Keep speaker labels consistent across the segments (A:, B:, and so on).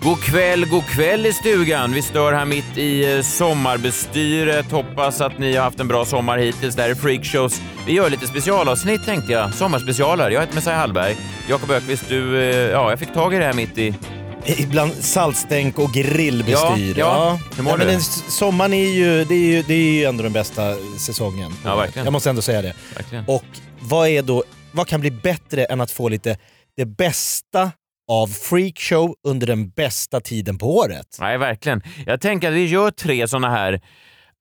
A: God kväll, god kväll i stugan. Vi stör här mitt i eh, sommarbestyret. Hoppas att ni har haft en bra sommar hittills. Det här är Freakshows. Vi gör lite specialavsnitt tänkte jag. Sommarspecialer. Jag heter Messiah Hallberg. Jakob Ökvist, du... eh, Ja, jag fick tag i det här mitt i...
B: Eh, Ibland saltstänk och grillbestyr.
A: Ja, ja. Hur mår
B: Nej, men
A: du?
B: den s- sommaren är ju, det är, ju, det är ju ändå den bästa säsongen.
A: Ja, verkligen.
B: Jag måste ändå säga det.
A: Verkligen.
B: Och vad, är då, vad kan bli bättre än att få lite det bästa av freakshow under den bästa tiden på året?
A: Nej, verkligen. Jag tänker att vi gör tre såna här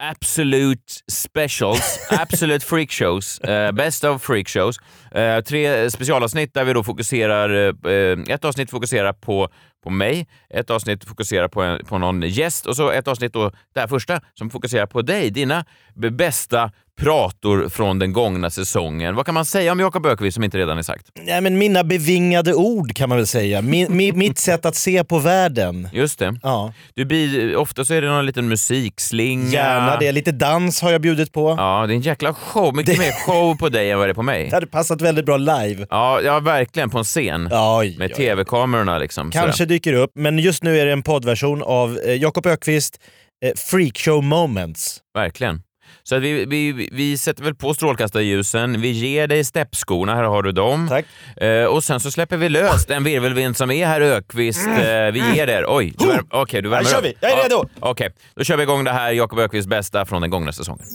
A: Absolute specials, absolute freakshows, eh, best of freakshows. Eh, tre specialavsnitt där vi då fokuserar, eh, ett avsnitt fokuserar på, på mig, ett avsnitt fokuserar på, en, på någon gäst och så ett avsnitt då, det här första, som fokuserar på dig, dina b- bästa prator från den gångna säsongen. Vad kan man säga om Jakob Ökvist som inte redan är sagt?
B: Nej, men mina bevingade ord kan man väl säga. Min, mi, mitt sätt att se på världen.
A: Just det.
B: Ja,
A: Du, blir- ofta så är det någon liten musikslinga.
B: gärna det. Lite dans har jag bjudit på.
A: Ja, det är en jäkla show. Mycket mer show på dig än vad det är på mig.
B: Det hade passat väldigt bra live.
A: Ja, ja verkligen på en scen.
B: Oj,
A: Med
B: oj,
A: tv-kamerorna liksom. sådär.
B: Kanske dyker upp, men just nu är det en poddversion av eh, Jakob Ökvist eh, Freakshow Moments.
A: Verkligen. Så att vi, vi, vi- vi sätter väl på strålkastarljusen, vi ger dig steppskorna, här har du dem.
B: Tack.
A: Eh, och sen så släpper vi lös den virvelvind som är här Ökvist.
B: Mm.
A: Eh, vi ger er. Oj, du värm- okej du värmer
B: Här kör
A: upp.
B: vi. Jag är
A: Ja,
B: redo.
A: Okej, då kör vi igång det här Jakob Ökvists bästa från den gångna säsongen.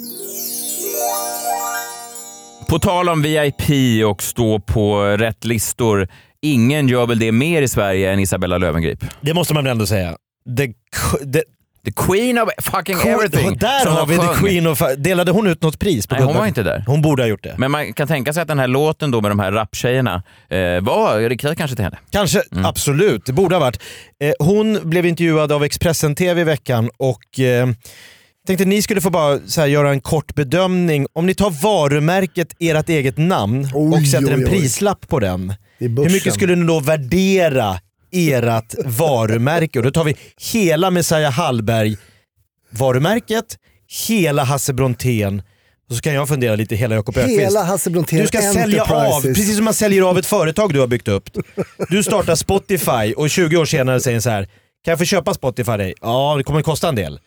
A: På tal om VIP och stå på rätt listor. Ingen gör väl det mer i Sverige än Isabella Löwengrip?
B: Det måste man väl ändå säga. The, qu- the,
A: The Queen of fucking
B: Queen-
A: everything!
B: där
A: som
B: har
A: hon
B: vi
A: sjöng.
B: the Queen of... Delade hon ut något pris? På
A: Nej, hon
B: Guldbaggen?
A: var inte där.
B: Hon borde ha gjort det.
A: Men man kan tänka sig att den här låten då med de här raptjejerna eh, var riktad kanske till henne.
B: Kanske, absolut. Det borde ha varit. Eh, hon blev intervjuad av Expressen TV i veckan och eh, tänkte ni skulle få bara så här, göra en kort bedömning. Om ni tar varumärket, ert eget namn och
C: Oj,
B: sätter
C: oj,
B: en
C: oj.
B: prislapp på den.
C: I börsen.
B: Hur mycket skulle ni då värdera ert varumärke? Och då tar vi hela Messiah Hallberg varumärket, hela Hasse Brontén och så kan jag fundera lite hela Jakob Öqvist.
C: Hela Hasse Brontén
B: Du ska sälja av,
C: Enterprises.
B: precis som man säljer av ett företag du har byggt upp. Du startar Spotify och 20 år senare säger så här. Kan jag få köpa Spotify dig? Ja, det kommer kosta en del.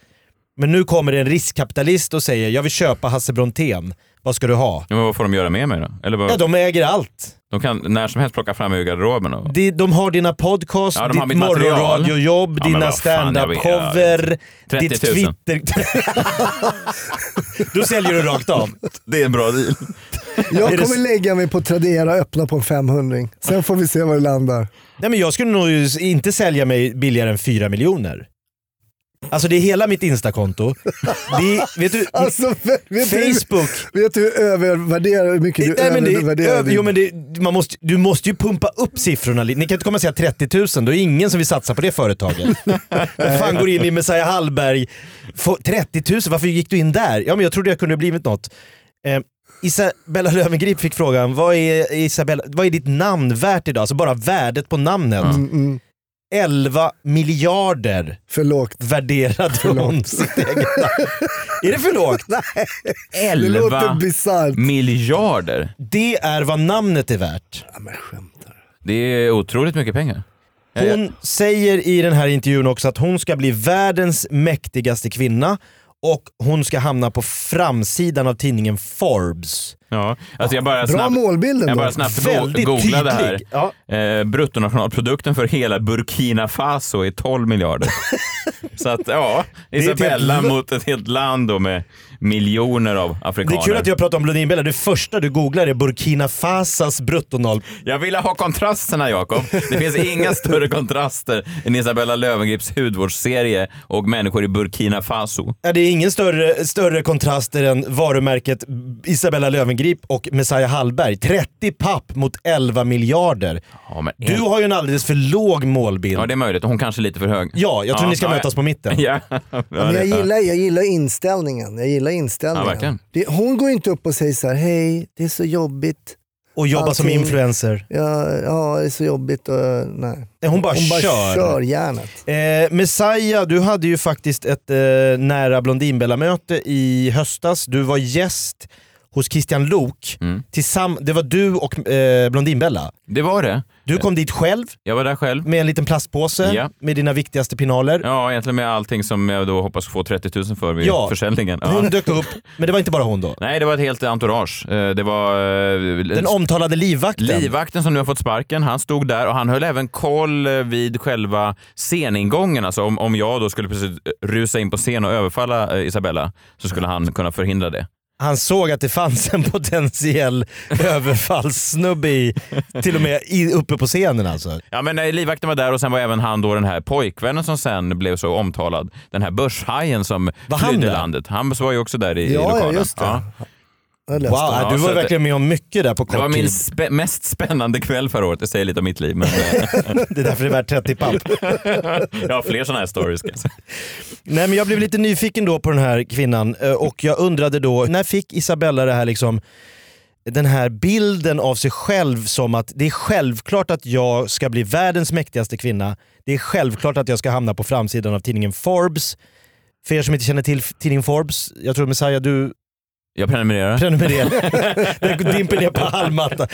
B: Men nu kommer det en riskkapitalist och säger jag vill köpa Hasse Brontén. Vad ska du ha?
A: Ja, men vad får de göra med mig då? Eller vad,
B: Ja,
A: de...
B: de äger allt.
A: kan när som helst plocka fram ur garderoben. Och...
B: De, de har dina podcast,
A: Ja, de har
B: ditt
A: mitt material.
B: morgonradiojobb,
A: Ja, men
B: dina
A: vad fan, jag vet.
B: standup-cover,
A: 30 000.
B: ditt Twitter... Då säljer du rakt av.
A: Det är en bra deal.
B: Är
C: Jag
B: det
C: kommer
B: s-
C: lägga mig på Tradera och öppna på en 500 Sen får vi se var det landar.
B: Nej men jag skulle nog ju inte sälja mig billigare än 4 miljoner. Alltså det är hela mitt instakonto. Det är, vet du,
C: Alltså, vet du,
B: Facebook.
C: vet du hur övervärderar, hur mycket du
B: Nej, men det,
C: övervärderar
B: ö,
C: din-
B: jo, men det, man måste, du måste ju pumpa upp siffrorna lite. Ni kan inte komma och säga 30 000, då är det ingen som vill satsa på det företaget. Vem fan går in i Messiah Hallberg? Få- 30 000, varför gick du in där? Ja men jag trodde jag kunde blivit något. Eh, Isabella Löwengrip fick frågan, vad är, Isabella, vad är ditt namn värt idag? Alltså bara värdet på namnet.
C: Mm,
B: 11 miljarder
C: För lågt.
B: värderade hon sitt eget namn. Är det för lågt?
C: Det låter
A: 11
C: bisarrt.
A: miljarder.
B: Det är vad namnet är värt.
C: Ja, men skämtar
A: Det är otroligt mycket pengar.
B: Hon säger i den här intervjun också att hon ska bli världens mäktigaste kvinna och hon ska hamna på framsidan av tidningen Forbes.
A: Ja. Alltså jag bara
C: Bra
A: snabbt,
C: målbild
A: jag
C: ändå.
A: bara snabbt go-
B: Väldigt
A: googlade det här.
B: tydlig. Ja.
A: Eh, bruttonationalprodukten för hela Burkina Faso är 12 miljarder. Så att ja,
B: är ett helt
A: Isabella
B: l-
A: mot ett helt land då med miljoner av
B: Det
A: afrikaner.
B: är kul att jag pratar om Blondinbella, det första du googlar är Burkina Fasas bruttonal...
A: Jag ville ha kontrasterna, Jakob. Det finns inga större kontraster än Isabella Lövengrips hudvårdsserie och människor i Burkina Faso.
B: Ja, Det är ingen större, större kontraster än varumärket Isabella Löwengrip och Messiah Hallberg. 30 papp mot 11 miljarder.
A: Ja, men
B: Du har ju en alldeles för låg målbild.
A: ja, det är möjligt. Hon kanske är lite för hög.
B: Ja, jag tror ni ska mötas på mitten.
A: Ja, ja,
C: Men jag
A: det-
C: gillar, jag gillar inställningen. Jag gillar
D: jävla inställning.
A: Ja, verkligen.
D: det, hon går ju inte upp och säger så här, hej, det är så jobbigt.
B: Och jobba som
D: Allting-
B: influencer.
D: Ja, ja, det är så jobbigt. Och, nej.
B: Nej, Hon bara
D: Hon bara
B: kör.
D: kör, järnet.
B: Eh, Messiah, du hade ju faktiskt ett eh, nära Blondinbella-möte i höstas. Du var gäst hos Christian Lok.
A: Mm.
B: Tillsamm- det var du och eh, Blondinbella.
A: Det var det.
B: Du kom dit själv
A: Jag var där själv.
B: med en liten plastpåse
A: Ja.
B: med dina viktigaste pinaler.
A: Ja, egentligen med allting som jag då hoppas få 30 000 för vid
B: Ja.
A: försäljningen. Ja.
B: Hon dök upp, men det var inte bara hon då.
A: Nej, det var ett helt entourage. Eh, Det var... eh,
B: Den omtalade livvakten.
A: Livvakten som nu har fått sparken, han stod där och han höll även koll eh, vid själva sceningången. Alltså om, om jag då skulle precis eh, rusa in på scen och överfalla eh, Isabella så skulle han kunna förhindra det.
B: Han såg att det fanns en potentiell överfallssnubbe i, till och med i, uppe på scenen alltså.
A: Ja men eh, livvakten var där och sen var även han då den här pojkvännen som sen blev så omtalad. Den här börshajen som
B: Var han
A: flydde
B: där?
A: landet. Han var ju också där i, i
D: Ja, ja,
A: lokalen.
D: just det. Jag
B: Wow,
D: läste det.
B: du
A: så
B: var
A: att-
B: verkligen med om mycket där på kort
A: Det var min
B: tid.
A: spä- mest spännande kväll förra året. Det säger lite om mitt liv men eh,
B: Det är därför det är värt 30 papp.
A: jag har fler sådana här stories. kan jag säga.
B: Nej men jag blev lite nyfiken då på den här kvinnan eh, och jag undrade då, när fick Isabella det här liksom den här bilden av sig själv som att det är självklart att jag ska bli världens mäktigaste kvinna. Det är självklart att jag ska hamna på framsidan av tidningen Forbes. För er som inte känner till f- tidningen Forbes, jag tror Messiah du
A: Jag prenumererar.
B: prenumererar. Den dimper ner på halmmattan.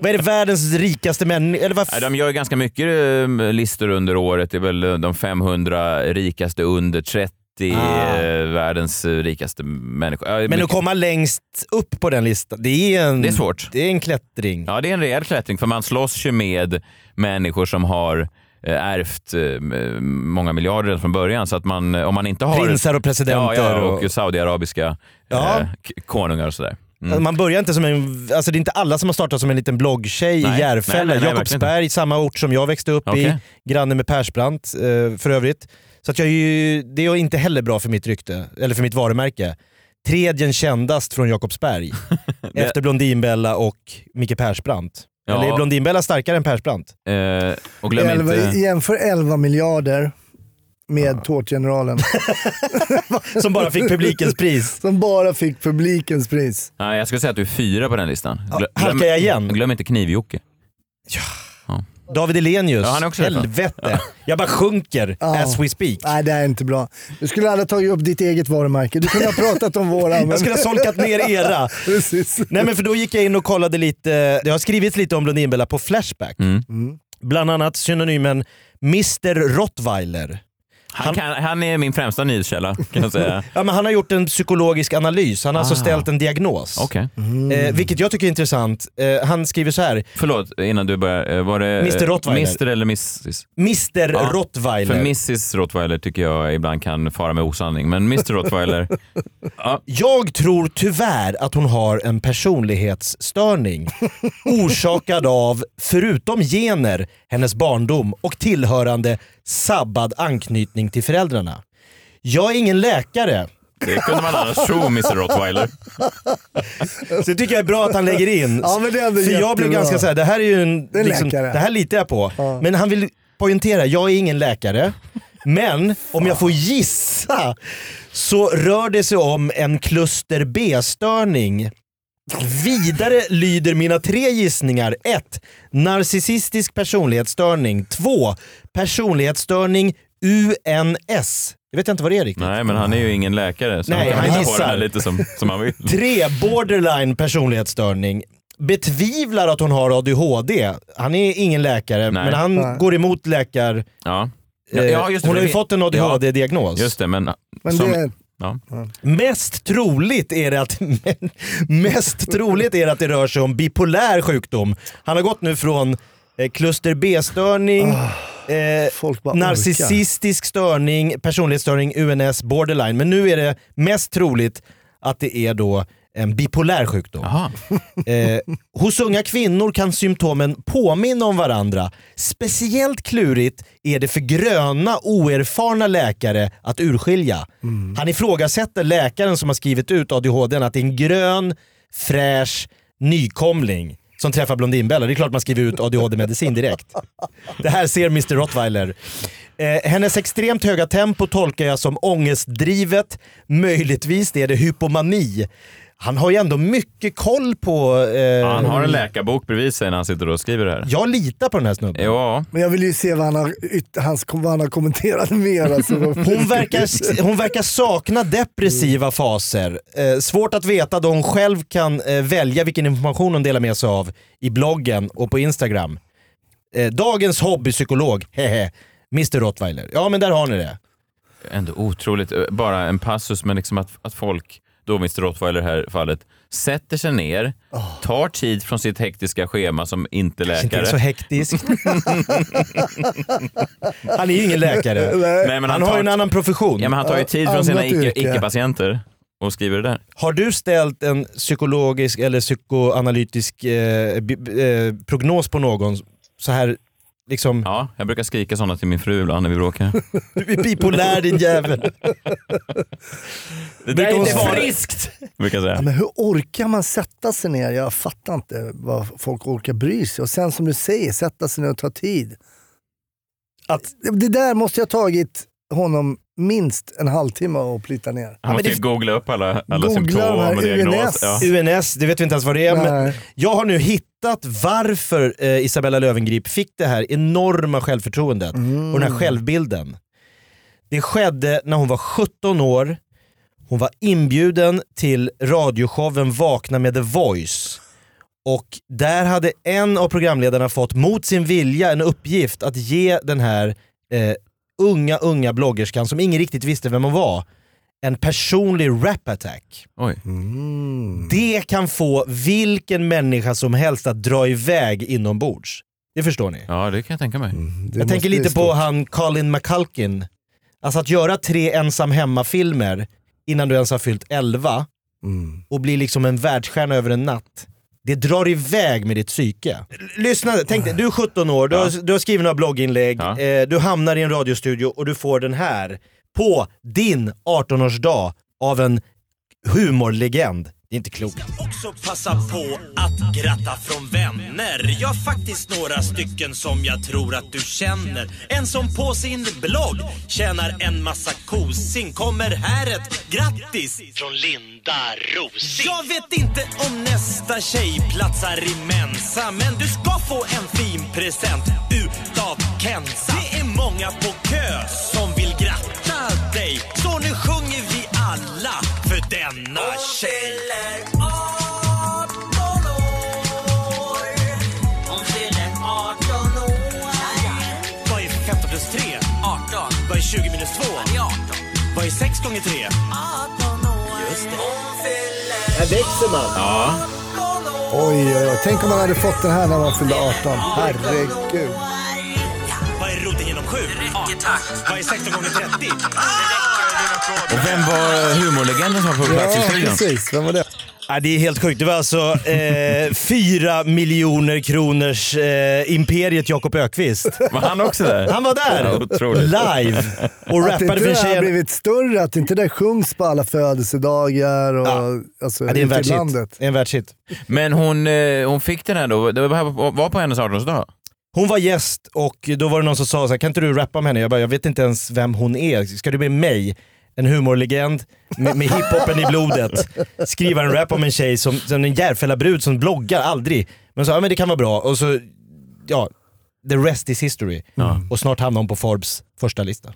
B: Vad är det världens rikaste män... Eller vad
A: Nej,
B: f-
A: De gör ju ganska mycket eh, listor under året. Det är väl eh, de 500 rikaste under 30
B: Ah.
A: eh, världens eh, rikaste människor. Ja,
B: men
A: mycket-
B: att komma längst upp på den listan, det är en,
A: Det är svårt.
B: Det är en klättring.
A: Ja, det är en rejäl klättring för man slåss ju med människor som har eh, ärvt eh, många miljarder redan från början. Så att man, eh, om man inte har...
B: Prinsar och
A: ja,
B: presidenter.
A: ja,
B: och-
A: och, saudiarabiska
B: Ja.
A: eh, k- konungar och sådär. Mm.
B: Alltså, Man börjar inte som en, alltså det är inte alla som har startat som en liten bloggtjej
A: Nej.
B: i
A: Nej,
B: Järfälla.
A: nej, nej, verkligen
B: Jakobsberg, samma ort som jag växte upp
A: Okej.
B: i. Granne med Persbrandt eh, för övrigt. Så att jag är ju, det är ju inte heller bra för mitt rykte, eller för mitt varumärke. Tredjen kändast från Jakobsberg. efter Blondinbella och Micke Persbrandt.
A: Ja.
B: Eller är Blondinbella starkare än Persbrandt?
A: Eh, och glöm
D: Elva,
A: inte...
D: Jämför 11 miljarder med Tårtgeneralen
B: Som bara fick publikens pris.
D: som bara fick publikens pris.
A: Nej, jag skulle säga att du är fyra på den listan. Glö-
B: halkar jag igen?
A: Glöm inte Knivjocke.
B: David Elenius.
A: Ja, han är också därifrån.
B: Helvete. Jag bara sjunker
D: Ja.
B: as we speak.
D: Nej, det här är inte bra. Du skulle aldrig ha tagit upp ditt eget varumärke. Du kunde ha pratat om våra. Men...
B: Jag skulle ha solkat ner era.
D: Precis.
B: Nej men för då gick jag in och kollade lite, det har skrivits lite om Blondinbella på Flashback.
A: Mm.
B: Bland annat synonymen Mr Rottweiler.
A: Han,
B: Han-
A: kan, han är min främsta nyhetskälla kan jag säga.
B: Ja, men han har gjort en psykologisk analys, han har alltså
A: Ah.
B: ställt en diagnos.
A: Okej.
B: Eh, vilket jag tycker är intressant. Eh, han skriver så här,
A: Förlåt, innan du börjar. eh, Var det eh,
B: Mr. Rottweiler.
A: Mr eller Mrs?
B: Mr
A: Ja. För
B: Rottweiler.
A: Mrs Rottweiler tycker jag ibland kan fara med osanning, men Mr Rottweiler,
B: Jag tror tyvärr att hon har en personlighetsstörning orsakad av, förutom gener, hennes barndom och tillhörande sabbad anknytning till föräldrarna. Jag är ingen läkare,
A: det kunde man annars tro Mr Rottweiler.
B: så det tycker jag är bra att han lägger in.
D: Ja, men det är ändå
B: För jag blev
D: jättebra.
B: ganska såhär, det här är ju en...
D: är en
B: liksom,
D: läkare.
B: det här litar jag på. Men han vill poängtera, jag är ingen läkare. Men om jag får gissa så rör det sig om en kluster B-störning. Vidare lyder mina tre gissningar. 1. Narcissistisk personlighetsstörning. 2. Personlighetsstörning UNS. Jag vet inte vad det är riktigt.
A: Nej, men han är ju ingen läkare, så
B: Nej,
A: kan
B: han
A: ha
B: gissar.
A: den här lite som, som han vill.
B: 3. Borderline personlighetsstörning. Betvivlar att hon har ADHD. Han är ingen läkare,
A: Nej.
B: men han
D: Nej.
B: går emot läkar...
A: Ja.
B: eh,
A: Ja, just det,
B: hon
A: för
B: har ju
A: det-
B: fått en ADHD-diagnos.
A: Just det, men...
D: Men
A: som,
D: det,
A: ja.
B: Mest troligt är det att mest troligt är det att det rör sig om bipolär sjukdom. Han har gått nu från eh, kluster B-störning, eh,
D: Ah, folk bara orkar.
B: narcissistisk störning, personlighetsstörning, UNS, borderline. Men nu är det mest troligt att det är då en bipolär sjukdom.
A: Jaha.
B: Eh, hos unga kvinnor kan symptomen påminna om varandra. Speciellt klurigt är det för gröna oerfarna läkare att urskilja. Han ifrågasätter läkaren som har skrivit ut ADHD n att det är en grön, fräsch nykomling som träffar Blondinbella. Det är klart man skriver ut ADHD-medicin direkt. Det här ser Mr Rottweiler. Eh, hennes extremt höga tempo tolkar jag som ångestdrivet, möjligtvis är det hypomani. Han har ju ändå mycket koll på... eh,
A: Han har en läkarbok bredvid sig när han sitter och skriver det här.
B: Jag litar på den här snubben.
A: Ja,
D: Men jag vill ju se vad han har, yt- hans, vad han har kommenterat mer. Alltså.
B: Hon verkar, hon verkar sakna
A: Mm.
B: depressiva faser. Eh, svårt att veta då hon själv kan eh, välja vilken information hon delar med sig av i bloggen och på Instagram. Eh, dagens hobbypsykolog, hehe, Mr Rottweiler. Ja men där har ni det.
A: ändå otroligt. Eh, Bara en passus, men liksom att, att folk, då Mr Rottweiler i det här fallet, sätter sig ner, tar tid från sitt hektiska schema som inte
B: Inte
A: läkare.
B: så hektiskt. han är ju ingen läkare.
A: Nej, men
B: han,
A: han
B: har
A: tar-
B: ju en annan profession.
A: Ja, men han tar ju tid från
D: Annat
A: sina icke-
D: yrke.
A: icke-patienter och skriver det där.
B: Har du ställt en psykologisk eller psykoanalytisk eh, bi- eh, prognos på någon? Så här, liksom,
A: Ja, jag brukar skrika sådana till min fru ibland när vi bråkar.
B: du är bipolär din jävel.
A: Det brukar hon
B: det är
A: svara.
B: friskt!
A: Brukar jag
D: Ja,
A: säga.
D: men hur orkar man sätta sig ner? Jag fattar inte vad folk orkar bry sig. Och sen som du säger, sätta sig ner och ta tid.
B: Att-
D: Det där måste jag ha tagit honom minst en halvtimme att plita ner.
A: Han måste
B: det-
A: ju googla upp alla, alla
D: Googla de här
A: symptom och diagnos.
D: UNS.
A: Ja.
B: UNS, det vet vi inte ens vad det är. Men
D: Nej.
B: jag har nu hittat varför eh, Isabella Löwengrip fick det här enorma självförtroendet och den här självbilden. Det skedde när hon var 17 år. Hon var inbjuden till radioshowen Vakna med The Voice. Och där hade en av programledarna fått mot sin vilja en uppgift att ge den här eh, unga, unga bloggerskan som ingen riktigt visste vem hon var, en personlig rap-attack.
A: Oj.
B: Det kan få vilken människa som helst att dra iväg inombords. Det förstår ni.
A: ja, det kan jag tänka mig.
D: Det
B: jag
D: måste
B: tänker
D: bli
B: lite på
D: stort.
B: han Colin McCulkin. Alltså att göra tre ensam hemma-filmer innan du ens har fyllt 11
D: Mm.
B: och bli liksom en världsstjärna över en natt. Det drar iväg med ditt psyke. L- Lyssna, tänk dig, du är 17 år, du, har, du har skrivit några blogginlägg,
A: Ja.
B: eh, du hamnar i en radiostudio och du får den här på din 18-årsdag av en humorlegend. Det är inte klokt.
E: också passa på att gratta från vänner. Jag faktiskt några stycken som jag tror att du känner. En som på sin blogg tjänar en massa kosing. Kommer här ett grattis från Linda Rosing. Jag vet inte om nästa tjej platsar i Mensa. Men du ska få en fin present utav Kensa. Det är många på kö som vill gratta dig. Så nu sjunger vi alla för denna tjej. Vad är 15 plus 3? 18. Vad är 20 minus 2? 18. Vad är 6 gånger 3?
B: Här växer man.
D: Oj, oj, oj. Tänk om man hade fått den här när man fyllde 18. Herregud.
E: Vad är roten genom 7? Vad är 16 gånger 30?
A: Och vem var humorlegenden som var på plats i
D: Ja,
A: studion?
D: precis. Vem var det?
B: Ja, det är helt sjukt. Det var alltså eh, fyra miljoner kronors eh, imperiet Jakob Ökvist.
A: Var han också där?
B: Han var där!
A: Ja, otroligt.
B: Live! Och
D: Att inte
B: rappade för
D: det här har
B: tjejen.
D: blivit större, att inte det sjungs på alla födelsedagar och
B: Ja.
D: alltså,
B: Ja, det är en
D: ute i
B: världshit.
D: landet.
B: Det är en världshit.
A: Men hon, eh, hon fick den här då, det var var på hennes 18-årsdag?
B: Hon var gäst och då var det någon som sa så här, kan inte du rappa om henne? Jag bara, jag vet inte ens vem hon är. Ska du be mig, en humorlegend med, med hiphopen i blodet, skriva en rap om en tjej som, som en Järfälla brud som bloggar aldrig? Men så, ja men det kan vara bra. Och så, ja, the rest is history. Och snart hamnar hon på Forbes första lista.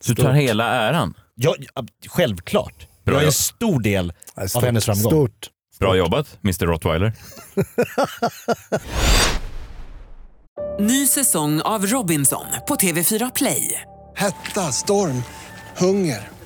A: Så du tar hela äran?
B: Ja, ja, självklart.
A: Bra
B: jag är en
A: jobb.
B: stor del
D: Nej,
B: av hennes framgång.
D: Stort.
A: Bra jobbat, Mr Rottweiler.
F: Ny säsong av Robinson på TV4 Play.
C: Hetta, storm, hunger.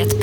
G: Ett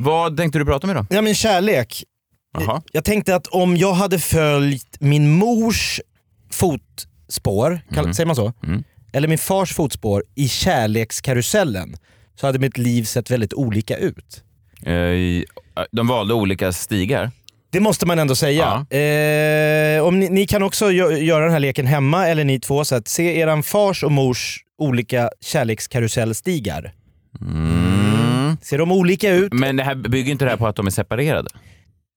A: Vad tänkte du prata om idag?
B: Ja men kärlek.
A: Jaha.
B: Jag tänkte att om jag hade följt min mors fotspår, kall-
A: Mm.
B: säger man så? Eller min fars fotspår i kärlekskarusellen så hade mitt liv sett väldigt olika ut.
A: Eh, De valde olika stigar.
B: Det måste man ändå säga. Eh, om ni, ni kan också gö- göra den här leken hemma, eller ni två, så att se eran fars och mors olika kärlekskarusellstigar. Ser de olika ut?
A: Mm. Men det här bygger inte det här på att de är separerade?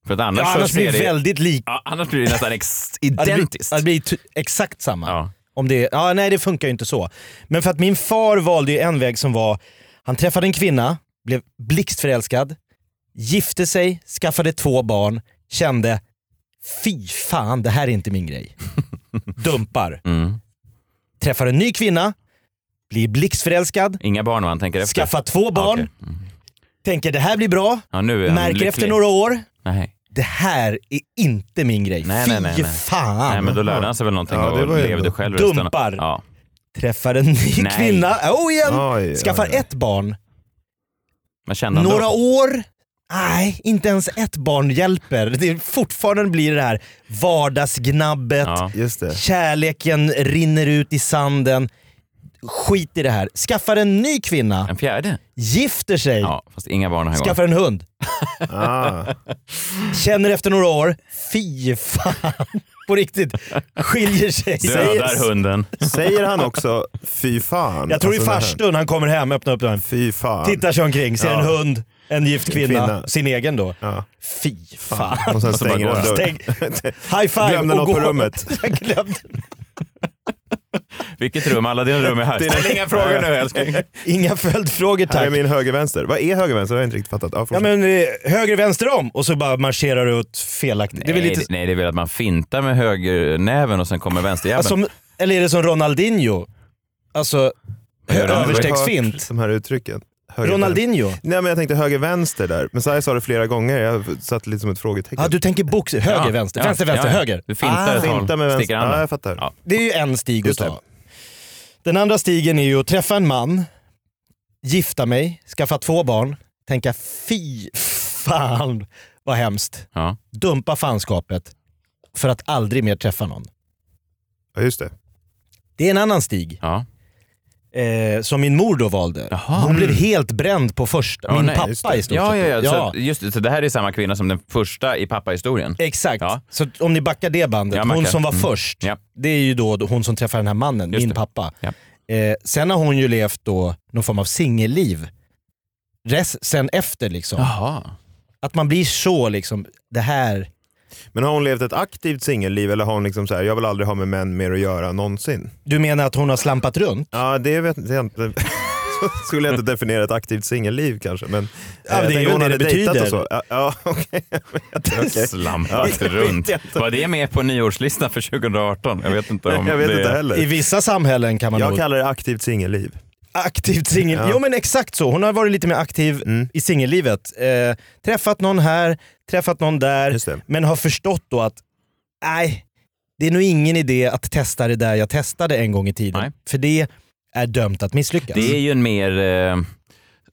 A: För att annars,
B: Ja,
A: så
B: annars blir
A: ser
B: det väldigt lika.
A: Ja, annars blir det nästan ex-
B: Ja, det blir-
A: identiskt.
B: ja, Det blir t- exakt samma.
A: Ja.
B: Om det, ja, nej, det funkar ju inte så. Men för att min far valde ju en väg som var, han träffade en kvinna, blev blixtförälskad, gifte sig, skaffade två barn, kände fy fan, det här är inte min grej. Dumpar.
A: Mm.
B: Träffar en ny kvinna, blir blixtförälskad,
A: Inga barn man tänker efter.
B: skaffar två barn,
A: Ja, okej.
B: tänker det här blir bra,
A: Ja, nu är han
B: märker
A: lycklig.
B: efter några år,
A: Nej.
B: det här är inte min grej.
A: Nej,
B: fy
A: nej, nej, nej.
B: fan.
A: Nej, men då lärde han sig väl någonting
G: Ja, det
A: och
G: var ju
A: levde
G: ändå-
A: själv resten av-
B: Dumpar.
A: Ja.
B: träffar en ny
A: Nej.
B: kvinna, oh igen,
G: Oj,
B: skaffar
G: oj, oj.
B: ett barn,
A: Men kände han
B: några
A: då?
B: år, nej inte ens ett barn hjälper. Det är, fortfarande blir det här vardagsgnabbet,
A: Ja.
G: Just det.
B: kärleken rinner ut i sanden. Skit i det här. Skaffar en ny kvinna,
A: En fjärde?
B: gifter sig,
A: Ja, fast inga barn den här gången.
B: skaffar en hund.
G: Ah.
B: Känner efter några år, fy fan. På riktigt, skiljer sig.
A: Dödar hunden.
G: Säger han också fy fan?
B: Jag tror i
G: Alltså, när han-
B: farstun han kommer hem, öppnar upp dörren.
G: Fy fan.
B: Tittar sig omkring, ser
G: Ja.
B: en hund, en gift kvinna,
G: Kvinna.
B: sin egen då.
G: Ja.
B: Fy fan.
G: Och sen
A: så bara
G: stänger
A: går
G: han
A: han.
G: dörren.
B: Stäng, high five
G: Glömde
B: och
G: något på
B: gå.
G: rummet.
B: Jag glömde.
A: Vilket rum? Alla dina rum är här. Ställ inga frågor nu älskling.
B: Inga följdfrågor
G: Här är
B: tack.
G: min höger-vänster. Vad är höger-vänster? Det har jag inte riktigt fattat. Ja,
B: Ja,
G: men...
B: men, eh, höger, vänster om och så bara marscherar du åt felaktigt.
A: Nej,
B: det är väl lite,
A: nej, det är väl att man fintar med högernäven och sen kommer vänsterjäveln.
B: alltså, om- eller är det som Ronaldinho? Alltså,
A: gör han?
B: överstegsfint.
G: De här uttrycken. Höger-
B: Ronaldinho?
G: Nej men jag tänkte höger-vänster där. Men Saja sa det flera gånger. Jag satt lite som ett frågetecken.
B: Ja, du tänker box, höger, vänster,
A: Ja,
B: vänster,
A: ja,
B: vänster,
A: ja.
B: höger. Ah,
A: Du fintar ett håll,
G: Finta med
A: sticker
G: vänster.
A: handen.
G: Ja, jag fattar.
A: Ja.
B: Det är ju en stig att
G: Just det.
B: ta. Den andra stigen är ju att träffa en man, gifta mig, skaffa två barn, tänka fy fan vad hemskt.
A: Ja.
B: Dumpa fanskapet för att aldrig mer träffa någon.
G: Ja, just det.
B: Det är en annan stig
A: Ja.
B: eh, som min mor då valde.
A: Jaha. Mm.
B: Hon blev helt bränd på första,
A: Ja,
B: min
A: nej,
G: just
B: pappa
G: det.
B: i stort
A: Ja, ja,
B: sett.
A: ja. Så, just det, så det här är samma kvinna som den första i pappahistorien.
B: Exakt,
A: Ja.
B: så att om ni backar det bandet.
A: Jag
B: hon
A: backar.
B: som var
A: Mm.
B: först,
A: Ja.
B: det är ju då hon som träffar den här mannen,
A: Just
B: min
A: det.
B: pappa.
A: Ja.
B: Eh, sen har hon ju levt då någon form av singelliv. Res, sen efter liksom.
A: Jaha.
B: Att man blir så liksom, det här...
G: Men har hon levt ett aktivt singelliv eller har hon liksom så här, jag vill aldrig ha med män mer att göra någonsin?
B: Du menar att hon har slampat runt?
G: Ja, det vet det är inte. Så skulle jag inte definiera ett aktivt singelliv kanske. Men,
B: men
G: eh,
B: det är
G: tänk
B: ju
G: om
B: det det
G: dejtat
B: betyder.
G: Och så. Ja, ja, okej. Okej.
A: Slampat runt. Var det med på nyårslistan för 2018? Jag vet inte om
G: Jag vet
A: det...
G: inte
B: I
G: heller.
B: vissa samhällen kan man nog...
G: Jag kallar det aktivt singelliv.
B: Aktivt singel...
G: Ja.
B: Jo men exakt så, hon har varit lite mer aktiv
G: Mm.
B: i singellivet. Eh, träffat någon här, träffat någon där,
G: Just det.
B: men har förstått då att nej, det är nog ingen idé att testa det där jag testade en gång i tiden.
A: Nej.
B: För det är dömt att misslyckas.
A: Det är ju en mer... Eh,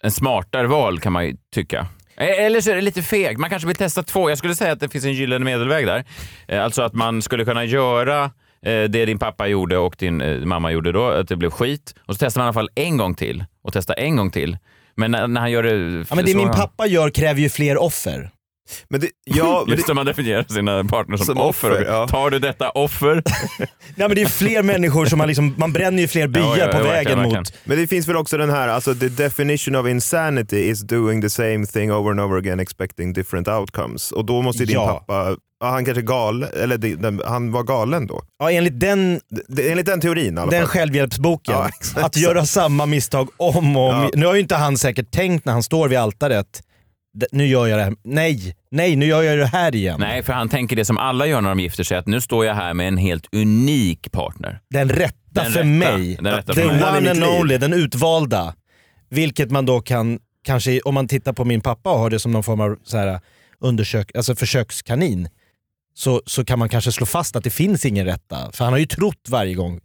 A: en smartare val kan man ju tycka. Eh, Eller så är det lite fegt. Man kanske vill testa två. Jag skulle säga att det finns en gyllene medelväg där. Eh, Alltså att man skulle kunna göra eh, det din pappa gjorde och din eh, mamma gjorde då, att det blev skit. Och så testar man i alla fall en gång till och testar en gång till. Men när, när han gör det...
B: Ja, men det
A: så-
B: min pappa gör kräver ju fler offer.
G: Men det, ja, men det,
A: Just det, man definierar sina partners som,
G: Som
A: offer.
G: offer, ja.
A: Tar du detta offer?
B: Nej, men det är fler människor som man liksom, man bränner ju fler byar
A: Ja, ja, ja,
B: på
A: verkligen,
B: vägen
A: verkligen.
B: mot.
G: men det finns väl också den här, alltså the definition of insanity is doing the same thing over and over again expecting different outcomes. Och då måste ju din
B: Ja.
G: pappa, ja, han kanske galen, eller det- den- han var galen då.
B: Ja, enligt den,
G: Det- Det, enligt den teorin i alla
B: den
G: fall.
B: självhjälpsboken,
G: Ja, exakt.
B: att göra samma misstag om och om.
G: Ja.
B: Nu har ju inte han säkert tänkt när han står vid altaret, "D- nu gör jag det här. Nej, nej, nu gör jag det här igen.
A: Nej, för han tänker det som alla gör när de gifter sig, att nu står jag här med en helt unik partner.
B: Den rätta
A: Den
B: för
A: rätta.
B: mig.
A: Den rätta
B: The
A: för mig.
G: Den i
B: one and
G: mitt liv.
B: only, den utvalda. Vilket man då kan, kanske om man tittar på min pappa och har det som någon form av så här, eh, undersök, alltså försökskanin, så, så kan man kanske slå fast att det finns ingen rätta. För han har ju trott varje gång,
G: Just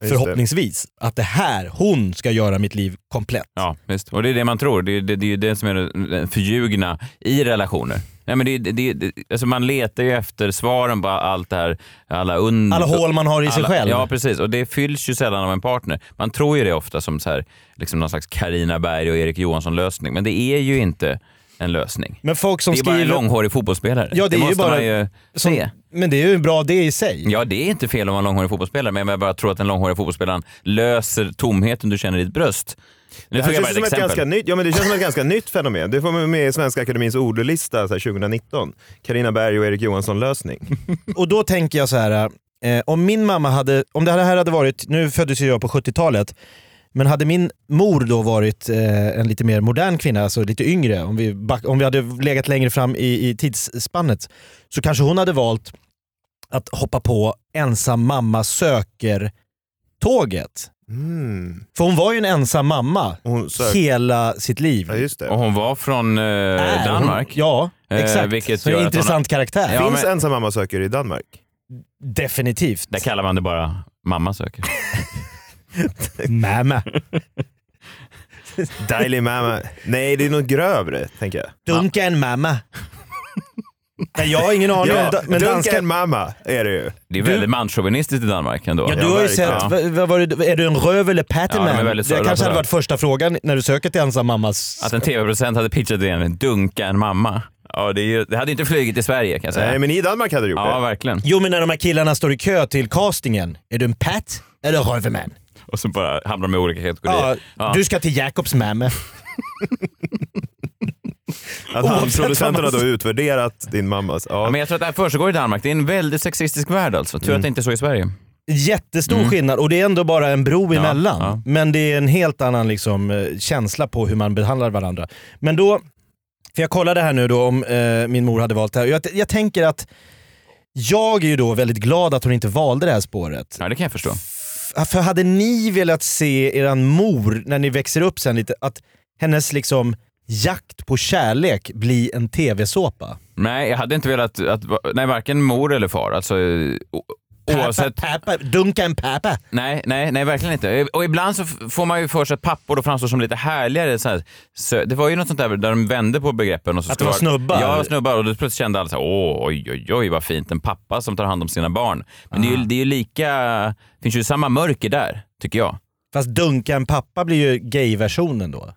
G: det.
B: förhoppningsvis, att det här, hon ska göra mitt liv komplett.
A: Ja, visst. Och det är det man tror. Det är det, det, är det som är det förljugna i relationer. Nej, men det, det, det, alltså man letar ju efter svaren på allt det här. Alla, und-
B: Alla hål man har i sig
A: Mm. alla-
B: själv.
A: Ja, precis. Och det fylls ju sällan av en partner. Man tror ju det ofta som så här, liksom någon slags Carina Berg och Erik Johansson-lösning, men det är ju inte en lösning.
B: Men folk som
A: det är bara en
B: skriver...
A: långhårig fotbollsspelare.
B: Ja, det är ju
A: måste
B: bara-
A: man ju
B: som-
A: se.
B: Men det är ju bra det i sig.
A: Ja, det är inte fel om man är långhårig fotbollsspelare, men jag bara tror att den långhåriga fotbollsspelaren löser tomheten du känner i ditt bröst. Nu
G: Det här
A: tog jag
G: känns
A: bara ett
G: som ett,
A: exempel.
G: ganska nytt, ja, men det känns som ett ganska nytt fenomen. Det får man med i Svenska Akademins ordlista så här 2019. Carina Berg och Erik Johansson-lösning.
B: Och då tänker jag så här. Eh, om min mamma hade, om det här hade varit, nu föddes ju jag på 70-talet, men hade min mor då varit eh, en lite mer modern kvinna, alltså lite yngre, om vi, back, om vi hade legat längre fram i, i tidsspannet, så kanske hon hade valt att hoppa på ensam mamma söker-tåget.
G: Mm.
B: För hon var ju en ensam mamma
G: Hon sök...
B: hela sitt liv.
G: Ja, just det.
A: Och hon var från eh,
B: Är hon-
A: Danmark.
B: Äh, Ja,
A: Eh,
B: exakt.
A: vilket
B: så en
A: gör att hon-
B: intressant karaktär.
A: Ja,
G: Finns
A: men-
G: ensam mamma söker i Danmark?
B: Definitivt.
A: Där kallar man det bara mamma söker.
B: Mamma.
G: Daily mamma. Nej, det är något grövre, tänker jag.
B: Dunka en mamma. Nej, jag har ingen aning.
G: Ja,
B: men men
G: dunka
B: danska...
G: en mamma är det ju.
A: Det är väldigt manschauvinistiskt i Danmark ändå.
B: Ja, du har ju sett,
A: verkligen.
B: vad- vad var det, är du en röv eller
A: Ja, de
B: pattyman?
A: är
B: det
A: väldigt
B: kanske
A: söta på
B: hade
A: det.
B: varit första frågan när du söker till ensam mammas...
A: Att en tv-producent hade pitchat idén dunka en mamma. Ja, det, är ju, det hade inte flugit i Sverige kan jag säga.
G: Nej, men i Danmark hade du gjort
A: Ja,
G: det.
A: verkligen.
B: Jo men när de här killarna står i kö till castingen, är du en pat eller rövman?
A: Och så bara hamnar de i olika
B: Ja,
A: kategorier.
B: Du ska till Jakobs mamma.
G: Att han,
B: Oavsett vad
G: producenterna
B: man-
G: då utvärderat din mammas. Ja.
A: Ja, men jag tror att det här försiggår i Danmark. Det är en väldigt sexistisk värld alltså. Tur
B: Mm.
A: att det inte är så i Sverige.
B: Jättestor skillnad och det är ändå bara en bro emellan.
A: Mm. ja.
B: Men det är en helt annan liksom, eh, känsla på hur man behandlar varandra. Men då, för jag kollade här nu då om eh, min mor hade valt det här. Jag, jag tänker att jag är ju då väldigt glad att hon inte valde det här spåret.
A: Ja, det kan jag förstå.
B: F- För hade ni velat se eran mor, när ni växer upp sen lite, att hennes liksom jakt på kärlek bli en tv-såpa?
A: Nej, jag hade inte velat att... Nej, varken mor eller far. Alltså, eh, o- oavsett
B: Pappa, pappa, dunka en pappa.
A: Nej, nej, nej, verkligen inte. Och ibland så f- får man ju för sig att pappor då framstår som lite härligare. Så här. så det var ju något sånt där där de vände på begreppen. Och så
B: Att
A: skulle
B: det var
A: vara-
B: snubbar?
A: Ja, snubbar. Och då plötsligt kände alla så här, åh, oj, oj, oj, vad fint. En pappa som tar hand om sina barn. Men det
B: Ah.
A: är ju, det är ju lika... Det finns ju samma mörker där, tycker jag.
B: Fast dunka en pappa blir ju gay-versionen då.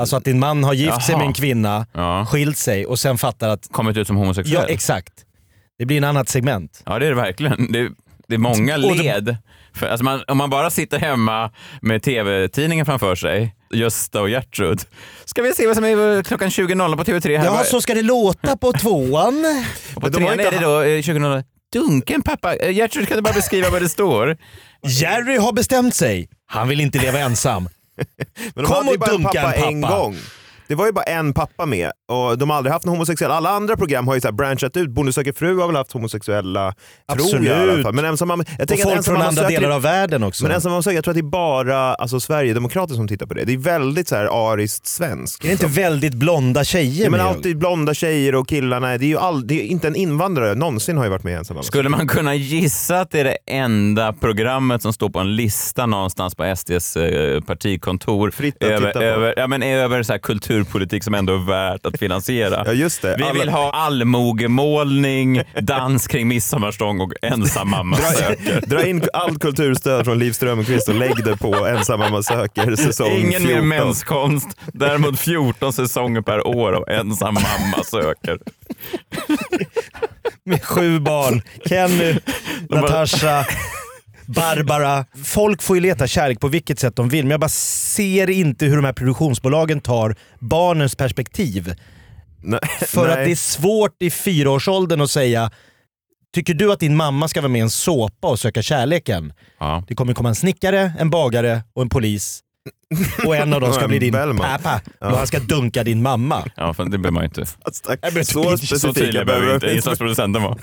B: Alltså att din man har gift sig
A: Jaha.
B: med en kvinna,
A: Ja.
B: skilt sig och sen fattar att,
A: Kommit ut som homosexuell.
B: ja exakt. Det blir en annat segment.
A: Ja, det är det verkligen. Det, det är många
B: Och det-
A: led. För, alltså man, om man bara sitter hemma med tv-tidningen framför sig, Gösta och Gertrud. Ska vi se vad som är klockan 20.00 på TV3 här.
B: Ja,
A: Bara-
B: så ska det låta på tvåan.
A: Och på
G: de har
A: trean
G: inte
A: är det då eh, 2000 Dunken pappa. Eh, Gertrud kan du bara beskriva vad det står?
B: Jerry har bestämt sig. Han vill inte leva ensam.
G: Men de
B: Kom
G: hade ju
B: och
G: bara en
B: dunka
G: pappa
B: en
G: en
B: pappa.
G: gång. Det var ju bara en pappa med och de har aldrig haft någon homosexuell. Alla andra program har ju så här branchat ut. Bonde söker fru har väl haft homosexuella, tror jag i alla
B: Absolut.
G: fall. Men ensam mamma, jag
B: Och
G: tänker att
B: folk
G: ensam
B: från
G: mamma
B: andra
G: söker,
B: delar av världen också.
G: Men
B: är
G: ensam mamma söker, jag tror att det är bara alltså, sverigedemokrater som tittar på det. Det är väldigt så här ariskt svenskt.
B: det inte väldigt blonda tjejer
G: Ja, men
B: med?
G: alltid blonda tjejer och killarna. Det är ju all, det är inte en invandrare någonsin har ju varit med i ensam mamma.
A: Skulle man kunna gissa att det är det enda programmet som står på en lista någonstans på SDs eh, partikontor
G: Fritt att
A: över,
G: titta på.
A: över, ja, men över så här kulturpolitik som ändå är värt att finansiera?
G: Ja just det.
A: Vi
G: Alla-
A: vill ha allmogemålning, dans kring midsommarstång och ensam mamma söker.
G: Dra in allt kulturstöd från Liv Strömquist och lägg det på ensam mamma söker säsong
A: Ingen
G: 14.
A: mer menskonst, däremot 14 säsonger per år av ensam mamma söker.
B: med sju barn. Kenny, Natasha, Barbara. Folk får ju leta kärlek på vilket sätt de vill, men jag bara ser inte hur de här produktionsbolagen tar barnens perspektiv.
G: Nej,
B: För
G: nej.
B: att det är svårt i fyraårsåldern att säga Tycker du att din mamma ska vara med i en såpa och söka kärleken?
A: Ja.
B: Det kommer komma en snickare, en bagare och en polis. Och en av dem
G: Och
B: ska
G: en
B: bli din
G: Bellman.
B: pappa och han ska dunka din mamma.
A: Ja, för det behöver man ju inte.
G: Stack-
B: Jag blir
G: Så
B: så
A: Så
G: specifika
A: tydliga behöver inte
G: vi
A: insatsproducenten vara.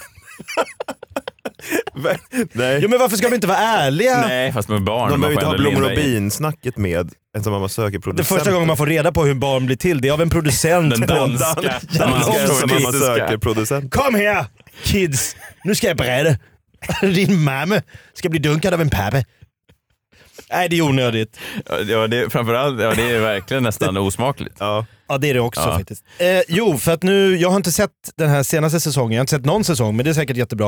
G: Nej.
B: Jo men varför ska vi inte vara ärliga?
A: Nej, fast med barn. man
G: De
A: får
G: behöver inte ha
A: ändå
G: blommor och
A: linda in.
G: bin-snacket med ensam mamma söker
B: Det
G: producenten.
B: första gången man får reda på hur barn blir till, det är av en producent.
A: Den
B: på-
A: danska.
B: Ja,
G: Man ska
B: danska
G: ensam mamma
A: journalistiska.
G: söker producent.
B: Kom här kids, nu ska jag berätta. Din mamma ska bli dunkad av en pappa. Nej, det är onödigt.
A: Ja, det, framförallt, ja, det är verkligen nästan osmakligt.
G: Ja.
B: Ja, det är det också
A: Ja.
B: faktiskt. Eh, jo, för att nu, jag har inte sett den här senaste säsongen, jag har inte sett någon säsong, men det är säkert jättebra.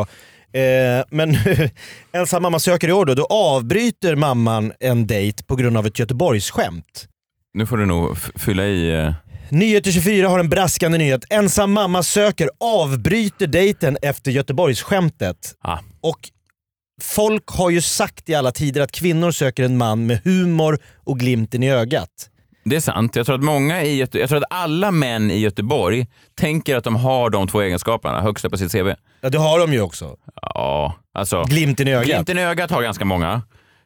B: Eh, men nu, ensam mamma söker i år då, då avbryter mamman en dejt på grund av ett Göteborgsskämt.
A: Nu får du nog f- fylla i... eh,
B: Nyheter 24 har en braskande nyhet. Ensam mamma söker avbryter dejten efter Göteborgsskämtet.
A: Ah.
B: Och folk har ju sagt i alla tider att kvinnor söker en man med humor och glimten i ögat.
A: Det är sant. Jag tror att många i Göte- jag tror att alla män i Göteborg tänker att de har de två egenskaperna högst upp på sitt CV.
B: Ja, det har de ju också.
A: Ja, alltså...
B: Glimten i ögat.
A: Glimten i ögat har ganska många.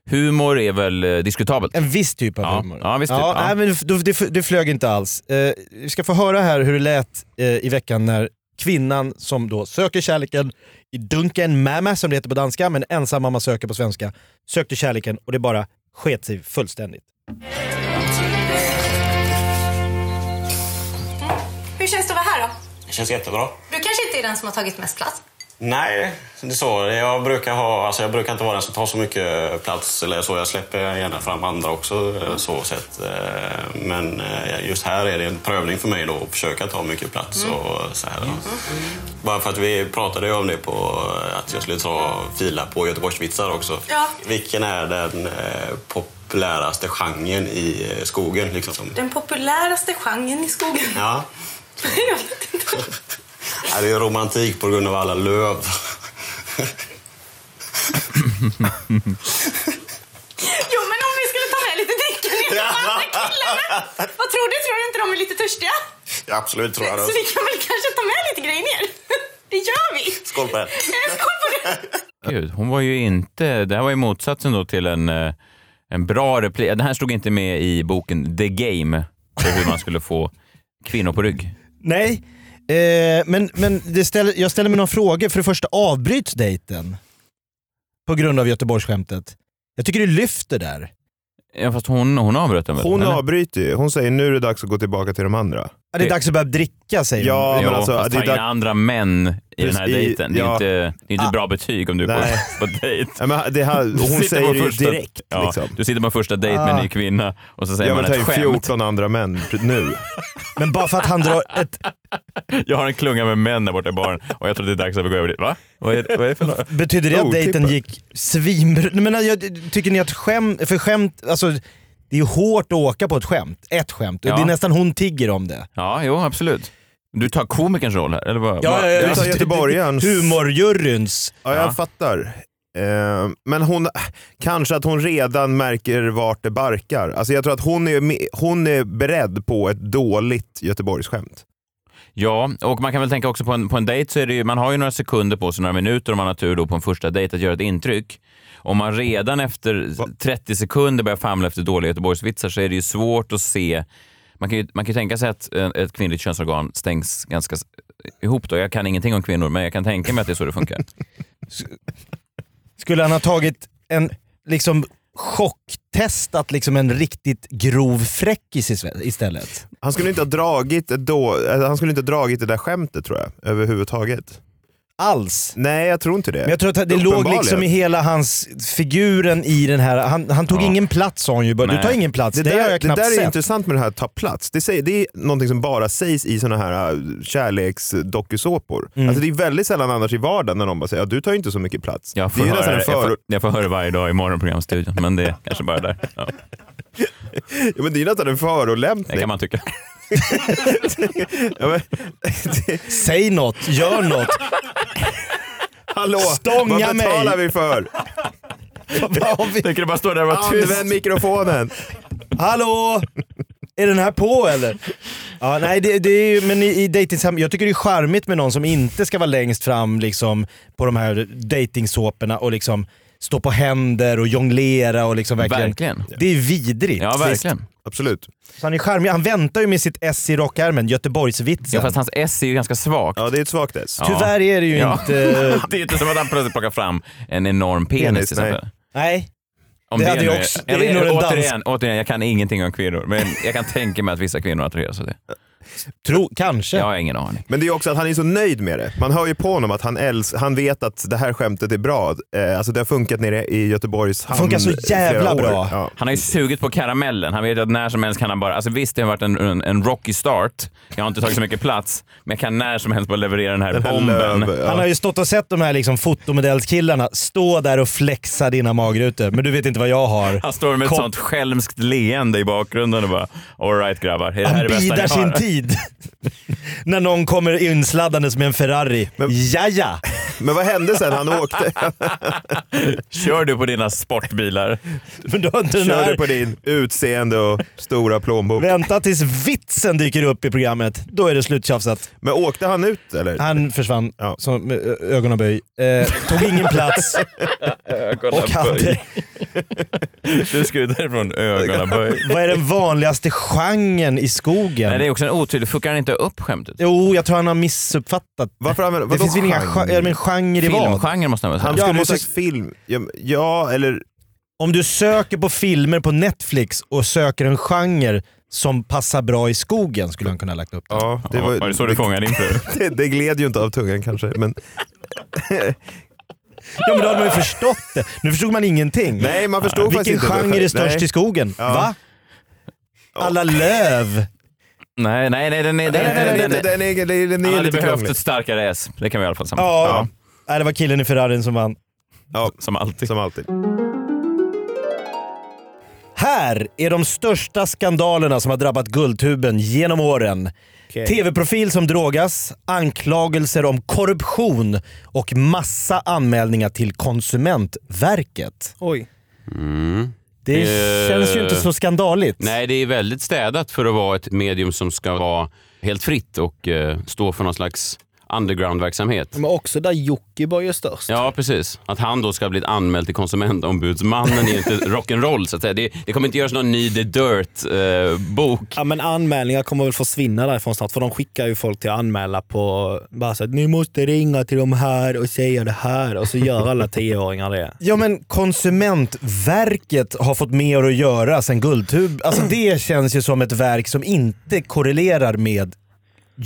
A: Humor är väl eh, diskutabelt.
B: En viss typ av
A: Ja,
B: humor.
A: ja, viss typ, ja.
B: Nej, men då- det, det flög inte alls. Eh, vi ska få höra här hur det lät eh, i veckan när kvinnan som då söker kärleken i dunken mamma som det heter på danska, men ensam mamma söker på svenska, sökte kärleken och det bara sket sig fullständigt.
H: Hur känns det att vara här då?
E: Det känns jättebra.
H: Du kanske inte är den som har tagit mest plats?
E: Nej, det är så. Jag brukar, ha, alltså jag brukar inte vara den som tar så mycket plats. eller så. Jag släpper gärna fram andra också. eh, så sett. Eh, Men eh, just här är det en prövning för mig då, att försöka ta mycket plats.
H: Mm.
E: Och så här, ja. Bara för att vi pratade ju om det på eh, att jag skulle ta fila på Göteborgsvitsar också.
H: Ja.
E: Vilken är den eh, populäraste genren i eh, skogen? Liksom?
H: Den populäraste genren i skogen.
E: Ja.
H: Jag vet inte.
E: Ja, Det är romantik på grund av alla löv.
H: Jo, men om vi skulle ta med lite dricka ner de andra killarna. Vad tror du? Tror du inte de är lite törstiga?
E: Ja, absolut tror jag
H: Så vi kan väl kanske ta med lite grejer ner? Det gör vi!
E: Skål på det.
H: Eh, Skål på det!
A: Gud, hon var ju inte... Det här var ju motsatsen då till en, eh, en bra replik. Den här stod inte med i boken The Game, för hur man skulle få kvinnor på rygg.
B: Nej, eh, men, men det ställer, jag ställer mig några frågor. För det första, avbryts dejten? På grund av Göteborgsskämtet. Jag tycker det lyfter där.
A: Ja, fast hon, hon avbröt den väl?
G: Hon
A: eller?
G: avbryter ju. Hon säger nu är det dags att gå tillbaka till de andra.
B: Ja, det är dags att börja dricka säger hon.
G: Ja,
A: Ja,
G: men alltså,
A: fast ta
G: det är
A: in
G: dags...
A: andra män i den här
G: Precis, i-
A: dejten. Det är
G: ja. Ah.
A: inte, det är inte ett bra betyg om du
G: Nej.
A: går på dejt.
G: Ja, men det här, hon
A: Sitter
G: säger
A: på
G: det ju
A: första-
G: direkt.
A: ja,
G: liksom.
A: Du sitter på en första dejt med en ny kvinna och så säger
G: Jag vill
A: man
G: ta
A: ett
G: in
A: skämt.
G: 14 andra män pr- nu.
B: Men bara för att han drar ett
A: Jag har en klunga med män där borta i baren och jag tror det är dags att vi går över dit. Va? Vad är, vad är det för något?
B: Betyder det att
G: Otippat.
B: dejten gick svin... Men jag, tycker ni att skämt, för skämt, alltså det är ju hårt att åka på ett skämt. Ett skämt.
A: Ja.
B: Det är nästan hon tigger om det.
A: Ja, jo absolut. Du tar komikerns roll här, eller vad? vad-
G: ja. tar göteborgarens.
B: Humorjuryns.
G: Ja, jag fattar. Eh, Men hon, kanske att hon redan märker vart det barkar. Alltså jag tror att hon är, me- hon är beredd på ett dåligt Göteborgsskämt.
A: Ja, och man kan väl tänka också på en, på en dejt så är det ju, man har ju några sekunder på sig, några minuter om man har tur då på en första dejt att göra ett intryck. Om man redan efter 30 sekunder börjar famla efter dåliga Göteborgsvitsar så är det ju svårt att se. Man kan ju, man kan ju tänka sig att eh, ett kvinnligt könsorgan stängs ganska s- eh, ihop då. Jag kan ingenting om kvinnor, men jag kan tänka mig att det är så det funkar.
B: Skulle han ha tagit en liksom chocktestat liksom en riktigt grov fräckis isve- istället?
G: Han skulle inte ha dragit, ett då, eh, han skulle inte ha dragit det där skämtet tror jag, överhuvudtaget.
B: Alls.
G: Nej, jag tror inte det.
B: Men jag tror att det låg
G: Uppenbarligen.
B: liksom i hela hans figuren i den här, han, han tog
A: Ja.
B: ingen plats sa hon ju bara. Du
A: Nej.
B: tar ingen plats,
G: det
B: det, har
G: där,
B: jag
G: det
B: knappt
G: där är
B: sett.
G: intressant med det här att ta plats. Det, säger, det är någonting som bara sägs i såna här eh, kärleksdokusåpor.
B: Mm.
G: Alltså det är väldigt sällan annars i vardagen när någon bara säger att du tar ju inte så mycket plats.
A: Jag
G: det
A: får,
G: är ju
A: höra,
G: nästan en
A: det- jag,
G: för...
A: får, jag får höra det varje dag i morgonprogramstudion, men det är kanske bara där. Ja,
G: ja, men det är ju nästan en
A: det
G: förolämpning.
A: kan man tycka.
G: Ja, men,
B: Säg något, gör något.
G: hallå,
B: Stånga
G: vad betalar
B: mig.
G: vi för?
B: Vad har vi-
A: Tänker du bara stå där och vara tyst?
G: Använd mikrofonen.
B: Hallå! Är den här på eller? Ja, nej, det, det är ju, men i, i dejtingsam- jag tycker det är charmigt med någon som inte ska vara längst fram liksom, på de här dejtingsåporna och liksom stå på händer och jonglera och liksom verkligen.
A: Verkligen.
B: Det är vidrigt.
A: Ja, verkligen.
G: Absolut.
B: Så han är charmig. Han väntar ju med sitt S i rockärmen, Göteborgsvitsen.
A: Ja, fast hans S är ju ganska svagt.
G: Ja, det är ett svagt S.
A: Ja.
B: Tyvärr är det ju
A: Ja.
B: inte...
A: Det är inte som att han plötsligt plockar fram en enorm penis,
G: Penis,
A: till exempel.
B: Nej.
A: Om
B: Det hade
A: nu
B: jag
A: är-
B: också- det
A: jag
B: är
A: vet-
B: nog en
A: återigen, återigen, jag kan ingenting om kvinnor, men jag kan tänka mig att vissa kvinnor attraheras av det.
B: Tro, kanske.
I: Jag har ingen aning.
G: Men det är också att han är så nöjd med det. Man hör ju på honom att han, äls- han vet att det här skämtet är bra. Eh, alltså det har funkat nere i Göteborgs hamn
B: funkar så
G: i flera
B: jävla bra.
G: Ja.
I: Han har ju sugit på karamellen. Han vet att när som helst kan han bara... Alltså visst, det har varit en, en, en rocky start. Jag har inte tagit så mycket plats, men jag kan när som helst bara leverera den här
G: Den här
I: bomben.
G: Lööf, ja.
B: Han har ju stått och sett de här liksom fotomodellskillarna stå där och flexa dina magrutor, men du vet inte vad jag har.
I: Han står med ett
B: Kom-
I: sånt skälmskt leende i bakgrunden och bara alright grabbar, det här
B: Han
I: är det bästa
B: bidar
I: ni
B: sin
I: har.
B: tid. När någon kommer insladdandes med en Ferrari. Jaja!
G: Men vad hände sen? Han åkte.
I: Kör du på dina sportbilar.
B: Men du har inte den
G: Körde
B: här.
G: på din utseende och stora plånbok.
B: Vänta tills vitsen dyker upp i programmet. Då är det sluttjafsat.
G: Men åkte han ut eller?
B: Han försvann
G: Ja.
B: som, med ö- ögonaböj. Eh, tog ingen plats och hade...
I: Du ska ju därifrån ögonaböj.
B: Vad är den vanligaste genren i skogen?
I: Nej, det är också en otydlig... Fuckar han inte upp skämtet?
B: Jo, jag tror han har missuppfattat.
G: Varför använder
B: Det
G: vadå
B: finns väl inga genre, eller men genre i vad?
I: Filmgenren måste han väl
G: Han
I: säga?
B: Ja,
G: skulle
B: men
G: ju
B: så-
G: sagt film. Ja, men- Ja, eller...
B: Om du söker på filmer på Netflix och söker en genre som passar bra i skogen skulle han kunna ha lagt upp det.
G: Ja,
I: Ja,
G: det var,
I: var det så du fångade din fru?
G: det, det gled ju inte av tungan kanske. Men,
B: Ja men då hade man ju förstått det. Nu förstod man ingenting. Ah,
G: nej, man förstod faktiskt
B: Vilken
G: inte.
B: genre är störst i skogen?
G: Ja.
B: Va? Alla löv.
I: Nej, nej, nej. Den är, den
G: Nej,
I: är,
G: nej,
I: den är,
G: nej,
I: den
G: nej,
I: är,
G: den är, den är, den
I: han
G: är
I: hade
G: lite
I: behövt
G: krånglig.
I: ett starkare S. Det kan vi i alla fall samla.
B: Ja. Nej, det var killen i Ferrarin som vann.
G: Ja,
I: Som alltid.
G: som alltid.
B: Här är de största skandalerna som har drabbat Guldtuben genom åren. TV-profil som drogas, anklagelser om korruption och massa anmälningar till Konsumentverket.
D: Oj.
B: Det
A: Eh.
B: känns ju inte så skandaligt.
A: Nej, det är väldigt städat för att vara ett medium som ska vara helt fritt och eh, stå för någon slags underground-verksamhet.
D: Men också där Jockiboi är störst.
A: Ja, precis. Att han då ska ha blivit anmäld till konsumentombudsmannen är inte rock'n'roll så att säga. Det, det kommer inte göras någon ny The eh, Dirt-bok.
J: Ja, men anmälningar kommer väl försvinna därifrån snart, för de skickar ju folk till att anmäla på... Bara så att ni måste ringa till de här och säga det här. Och så gör alla tioåringar det.
B: Ja men Konsumentverket har fått mer att göra sen Guldtub. Alltså det känns ju som ett verk som inte korrelerar med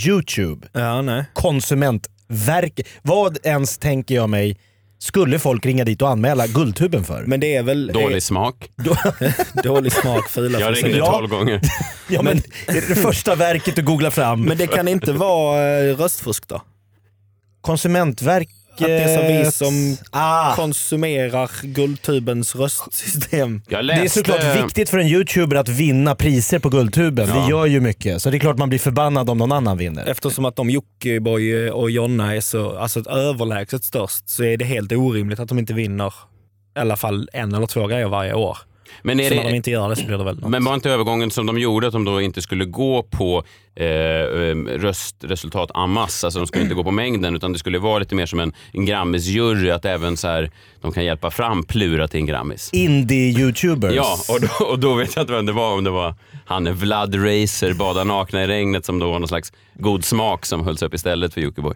B: Youtube.
J: Ja, nej.
B: Konsumentverket. Vad ens tänker jag mig skulle folk ringa dit och anmäla Guldtuben för?
J: Men det är väl...
A: Dålig smak.
J: eh, dålig smak, fula
A: Jag
J: frisyrer.
A: ringde
B: Ja.
A: tolv gånger.
B: ja, men, det är det första verket du googlar fram.
J: Men det kan inte vara eh, röstfusk då?
B: Konsumentverket...
J: Att det är som vi som
B: eh, Ah,
J: konsumerar Guldtubens röstsystem.
A: Jag
B: det
A: läste...
B: är såklart viktigt för en youtuber att vinna priser på Guldtuben. Det gör ju mycket. Så det är klart man blir förbannad om någon annan vinner.
J: Eftersom att de Jockiboi eh, och Jonna är så alltså, ett överlägset störst så är det helt orimligt att de inte vinner i alla fall en eller två grejer varje år.
A: Men är
J: så när de
A: det...
J: inte gör det så blir det väl något.
A: Men var inte övergången som de gjorde att de då inte skulle gå på eh, eh, röstresultat amas, alltså de skulle inte gå på mängden utan det skulle vara lite mer som en, en Grammisjury, att även så här, de kan hjälpa fram Plura till en Grammis.
B: Indie-youtubers.
A: Ja, och då, och då vet jag inte vem det var. Om det var han Vlad Racer, bada nakna i regnet, som då var någon slags god smak som hölls upp istället för Jockiboi.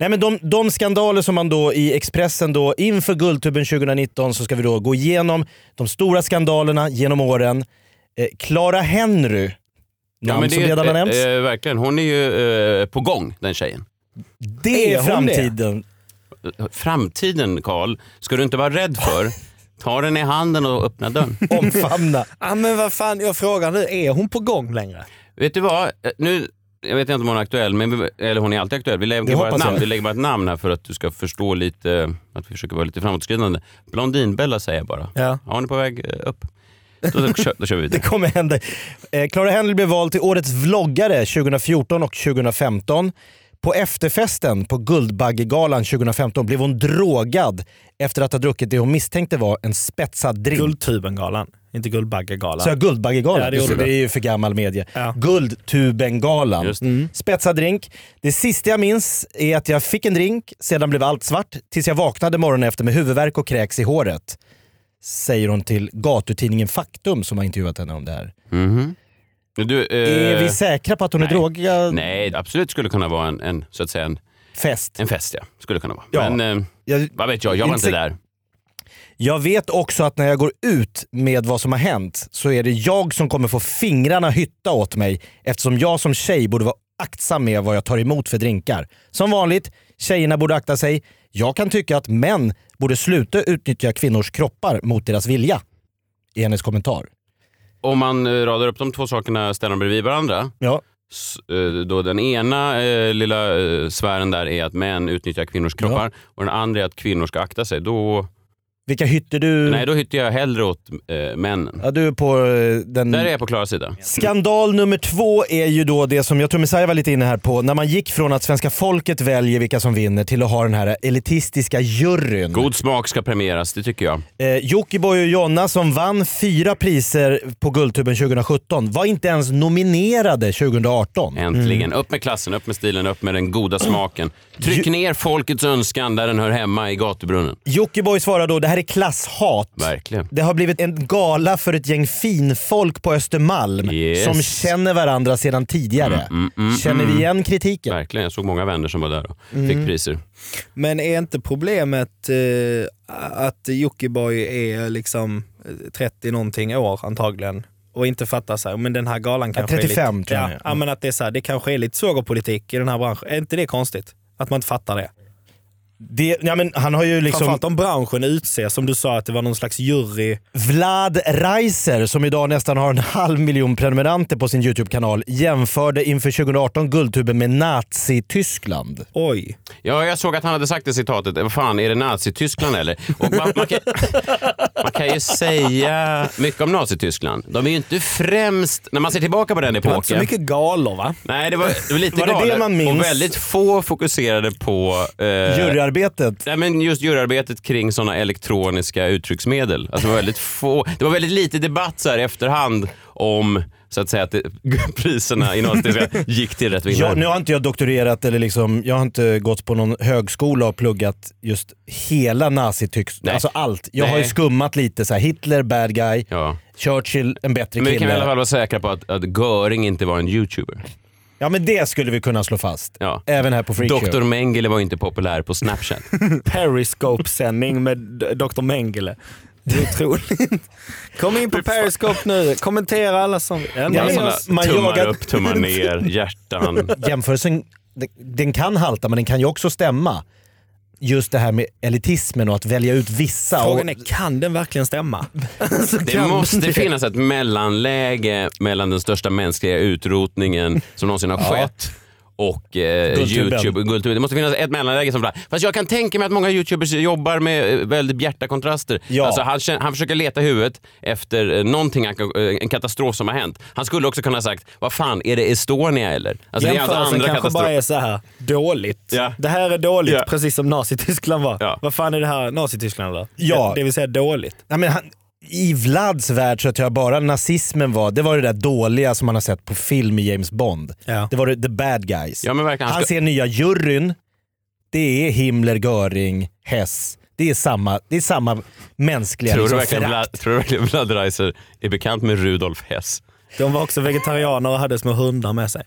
B: Nej, men de, de skandaler som man då i Expressen då inför Guldtuben 2019 så ska vi då gå igenom de stora skandalerna genom åren. Eh, Clara Henry, namn
A: men
B: som redan har nämnts.
A: eh, eh, verkligen. Hon är ju eh, på gång, den tjejen.
B: det
J: är
B: är
J: hon
B: framtiden.
A: Framtiden, Karl, ska du inte vara rädd för. Ta den i handen och öppna dörren.
B: Omfamna.
J: ah, men vad fan, jag frågar nu, är hon på gång längre?
A: Vet du vad? Eh, Nu, jag vet inte om hon är aktuell, men vi, eller hon är alltid aktuell. Vi lägger,
B: Det
A: bara ett
B: hoppas jag.
A: namn. vi lägger bara ett namn här för att du ska förstå lite, eh, att vi försöker vara lite framåtskridande. Blondinbella säger jag bara.
J: Ja.
A: Ja, hon är på väg eh, upp. Då, då, kör, då kör vi vidare.
B: Det kommer hända. Eh, Clara Henry blev vald till årets vloggare 2014 och 2015. På efterfesten på Guldbaggegalan 2015 blev hon drogad efter att ha druckit det hon misstänkte var en spetsad drink.
J: Guldtubengalan, inte
B: Så jag
J: Guldbaggegalan.
B: Guldbaggegalan?
J: Ja, det
B: Just det,
J: gjorde
B: det
J: du.
B: är ju för gammal media.
J: Ja.
B: Guldtubengalan.
A: Just det.
B: Spetsad drink. Det sista jag minns är att jag fick en drink, sedan blev allt svart tills jag vaknade morgonen efter med huvudvärk och kräks i håret. Säger hon till gatutidningen Faktum som har intervjuat henne om det här.
A: Mhm. Men Du, eh,
B: är vi säkra på att hon är
A: nej.
B: drogad?
A: Nej, absolut skulle kunna vara en, en, så att säga en,
B: Fest.
A: en fest. Ja. Skulle kunna vara.
B: Ja.
A: Men eh,
B: Jag,
A: vad vet jag, jag var
B: Inte
A: inte där.
B: jag vet också att när jag går ut med vad som har hänt så är det jag som kommer få fingrarna hytta åt mig eftersom jag som tjej borde vara aktsam med vad jag tar emot för drinkar. Som vanligt, tjejerna borde akta sig. Jag kan tycka att män borde sluta utnyttja kvinnors kroppar mot deras vilja. I hennes kommentar.
A: Om man eh, radar upp de två sakerna ställer de bredvid varandra.
B: Ja.
A: S- eh, Då den ena eh, lilla eh, sfären där är att män utnyttjar kvinnors kroppar och den andra är att kvinnor ska akta sig. Då,
B: Vilka hytter du...
A: Nej, då hittar jag hellre åt eh, männen.
B: Ja, du är på eh, den...
A: Där är jag på Klaras sida.
B: Skandal nummer två är ju då det som jag tror Messiah var lite inne här på, när man gick från att svenska folket väljer vilka som vinner till att ha den här elitistiska juryn.
A: God smak ska premieras, det tycker jag.
B: Eh, Jockiboi och Jonna som vann fyra priser på Guldtuben 2017 var inte ens nominerade 2018.
A: Äntligen. Upp med klassen, upp med stilen, upp med den goda smaken. Tryck ner folkets önskan där den hör hemma i gatubrunnen.
B: Jockiboi svarar då det här är klasshat.
A: Verkligen.
B: Det har blivit en gala för ett gäng finfolk på Östermalm
A: Yes.
B: som känner varandra sedan tidigare.
A: Mm, mm,
B: Känner vi
A: mm.
B: igen kritiken?
A: Verkligen. Jag såg många vänner som var där och
G: Mm.
A: fick priser.
G: Men är inte problemet eh, att Jockiboi är liksom eh, 30 någonting år antagligen och inte fattar så här, men den här galan kanske
B: 35
G: är lite...
B: tror jag han
G: ja,
B: är.
G: ja, men att det är så här, det kanske är lite sågerpolitik i den här branschen. Är inte det konstigt? Att man inte fattar det.
B: Det, ja, men han har ju liksom-
G: Framförallt om branschen utser, som du sa, att det var någon slags jury.
B: Vlad Reiser, som idag nästan har en halv miljon prenumeranter på sin YouTube-kanal, jämförde inför 2018 Guldtuben med Nazityskland.
G: Oj.
A: Ja, jag såg att han hade sagt det citatet. Vad fan, är det Nazityskland eller? Och man, man, kan, man kan ju säga mycket om Nazityskland. De är ju inte främst, när man ser tillbaka på den
G: Det var inte så
A: epoken.
G: mycket galor va?
A: Nej, det var, det var lite
G: Var det det
A: galet.
G: man minns?
A: Och väldigt få fokuserade på... Eh,
B: Juryarbetet.
A: Nej, men just juryarbetet kring sådana elektroniska uttrycksmedel. Alltså, det, var väldigt få, det var väldigt lite debatt så här i efterhand om så att säga att det, priserna i Nazityskland gick till rätt vinnare.
B: Ja, nu har inte jag doktorerat eller liksom, jag har inte gått på någon högskola och pluggat just hela nazitysk, alltså allt. Jag har ju
A: Nej.
B: skummat lite så här, Hitler bad guy, Churchill en bättre
A: Men vi kan i alla
B: kille.
A: fall vara säkra på att, att Göring inte var en youtuber.
B: Ja men det skulle vi kunna slå fast.
A: Ja.
B: Även här på Freakshow.
A: Dr Mengele var inte populär på Snapchat.
G: Periscope-sändning med d- Dr Mengele. Det är otroligt. Kom in på Periscope nu. Kommentera alla som...
A: Ja,
G: alla som-
A: sådana tummar upp, tummar ner, hjärtan.
B: Jämförelsen, den- den kan halta men den kan ju också stämma. Just det här med elitismen och att välja ut vissa.
G: Frågan
B: och,
G: är, kan den verkligen stämma?
A: Det måste finnas ett mellanläge mellan den största mänskliga utrotningen som någonsin har
G: Ja.
A: skett och eh,
G: Guldtuben.
A: Youtube. och Guldtuben. Det måste finnas ett mellanläge. som Fast jag kan tänka mig att många Youtubers jobbar med eh, väldigt bjärta kontraster.
B: Ja.
A: Alltså, han, kän- han försöker leta huvudet efter eh, någonting, han kan- eh, en katastrof som har hänt. Han skulle också kunna ha sagt, vad fan, är det Estonia eller? Alltså, det är alltså
G: Jämförelsen
A: andra
G: kanske
A: katastrof.
G: bara är liksom så här dåligt.
A: Ja.
G: Det här är dåligt,
A: Ja.
G: precis som Nazityskland var. Vad fan är det här Nazityskland eller?
B: Ja.
G: Det, det vill säga dåligt.
B: Nej, men han, I Vlads värld så tror jag bara nazismen var, det var det där dåliga som man har sett på film i James Bond. Det var det, the bad guys.
A: Ja, men verkligen,
B: han
A: han ska-
B: ser nya juryn, det är Himmler, Göring, Hess. Det är samma, det är samma mänskliga
A: Tror du,
B: liksom,
A: verkligen
B: förakt.
A: Vlad, tror du verkligen Vlad Reiser är bekant med Rudolf Hess?
G: De var också vegetarianer och hade små hundar med sig.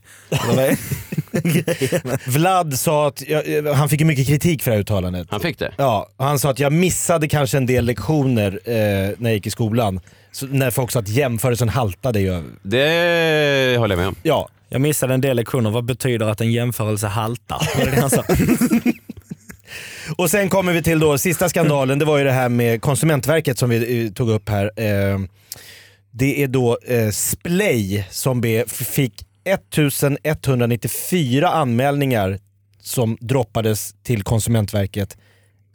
B: Vlad sa att, jag, han fick ju mycket kritik för det här uttalandet.
A: Han fick det?
B: Ja, och han sa att jag missade kanske en del lektioner eh, när jag gick i skolan. Så, när folk sa att jämförelsen haltade ju.
A: Det håller jag med om.
B: Ja.
G: Jag missade en del lektioner. Vad betyder att en jämförelse haltar? Var det det han sa?
B: Och sen kommer vi till då sista skandalen, det var ju det här med Konsumentverket som vi eh, tog upp här. Eh, Det är då eh, Splay som be- f- fick 1194 anmälningar som droppades till Konsumentverket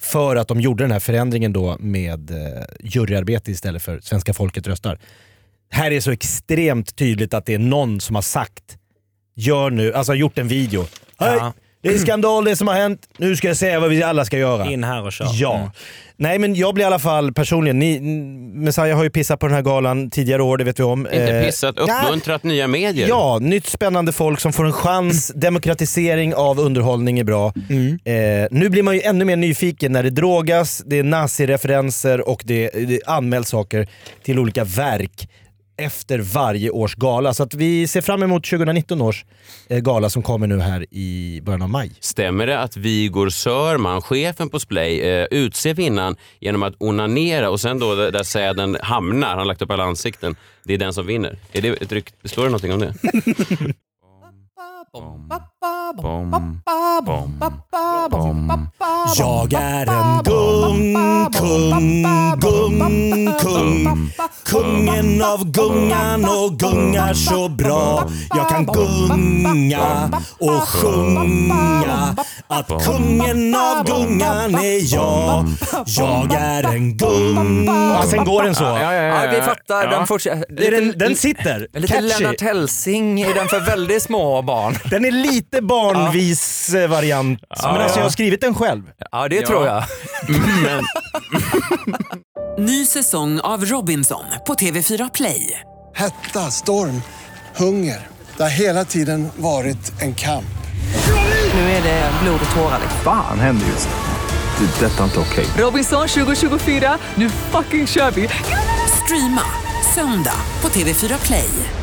B: för att de gjorde den här förändringen då med eh, juryarbete istället för svenska folket röstar. Här är så extremt tydligt att det är någon som har sagt, gör nu, alltså har gjort en video. Hej, det är skandal det som har hänt, nu ska jag säga vad vi alla ska göra.
G: In här och kör.
B: Ja. Nej men jag blir i alla fall personligen, ni, n- Messiah har ju pissat på den här galan tidigare år, det vet vi om.
A: Inte
B: Eh,
A: pissat,
B: ja.
A: uppmuntrat nya medier.
B: Ja, nytt spännande folk som får en chans. Demokratisering av underhållning är bra. Eh, nu blir man ju ännu mer nyfiken när det drogas, det är nazireferenser och det, det anmäls saker till olika verk efter varje års gala. Så att vi ser fram emot 2019 års eh, gala som kommer nu här i början av maj.
A: Stämmer det att Vigor Sörman, chefen på Splay, eh, utser vinnaren genom att onanera och sen då där där säden hamnar, han har lagt upp alla ansikten, det är den som vinner. Är det ett rykt, står det någonting om det?
B: Jag är en gung, kung, gung, kung. Kungen av gungan och gungar så bra. Jag kan gunga och sjunga. Att kungen av gungan är jag. Jag är en gung. Ja, sen går den så.
K: Ja, vi fattar. Den, fortsätter.
B: Den, den sitter.
K: Lite
B: Catchy.
K: Lennart Hellsing är den för väldigt små barn.
L: Den är lite barnvis eh, variant.
K: Ja.
L: Men alltså jag har skrivit den själv.
K: Ja, det
L: Ja.
K: tror jag.
F: Ny säsong av Robinson på TV4 Play.
C: Hetta, storm, hunger. Det har hela tiden varit en kamp.
F: Nu är det blod och tårar. liksom.
M: Fan händer just det. Det är detta inte okej.
F: Robinson 2024, nu fucking kör vi! Streama söndag på TV4 Play.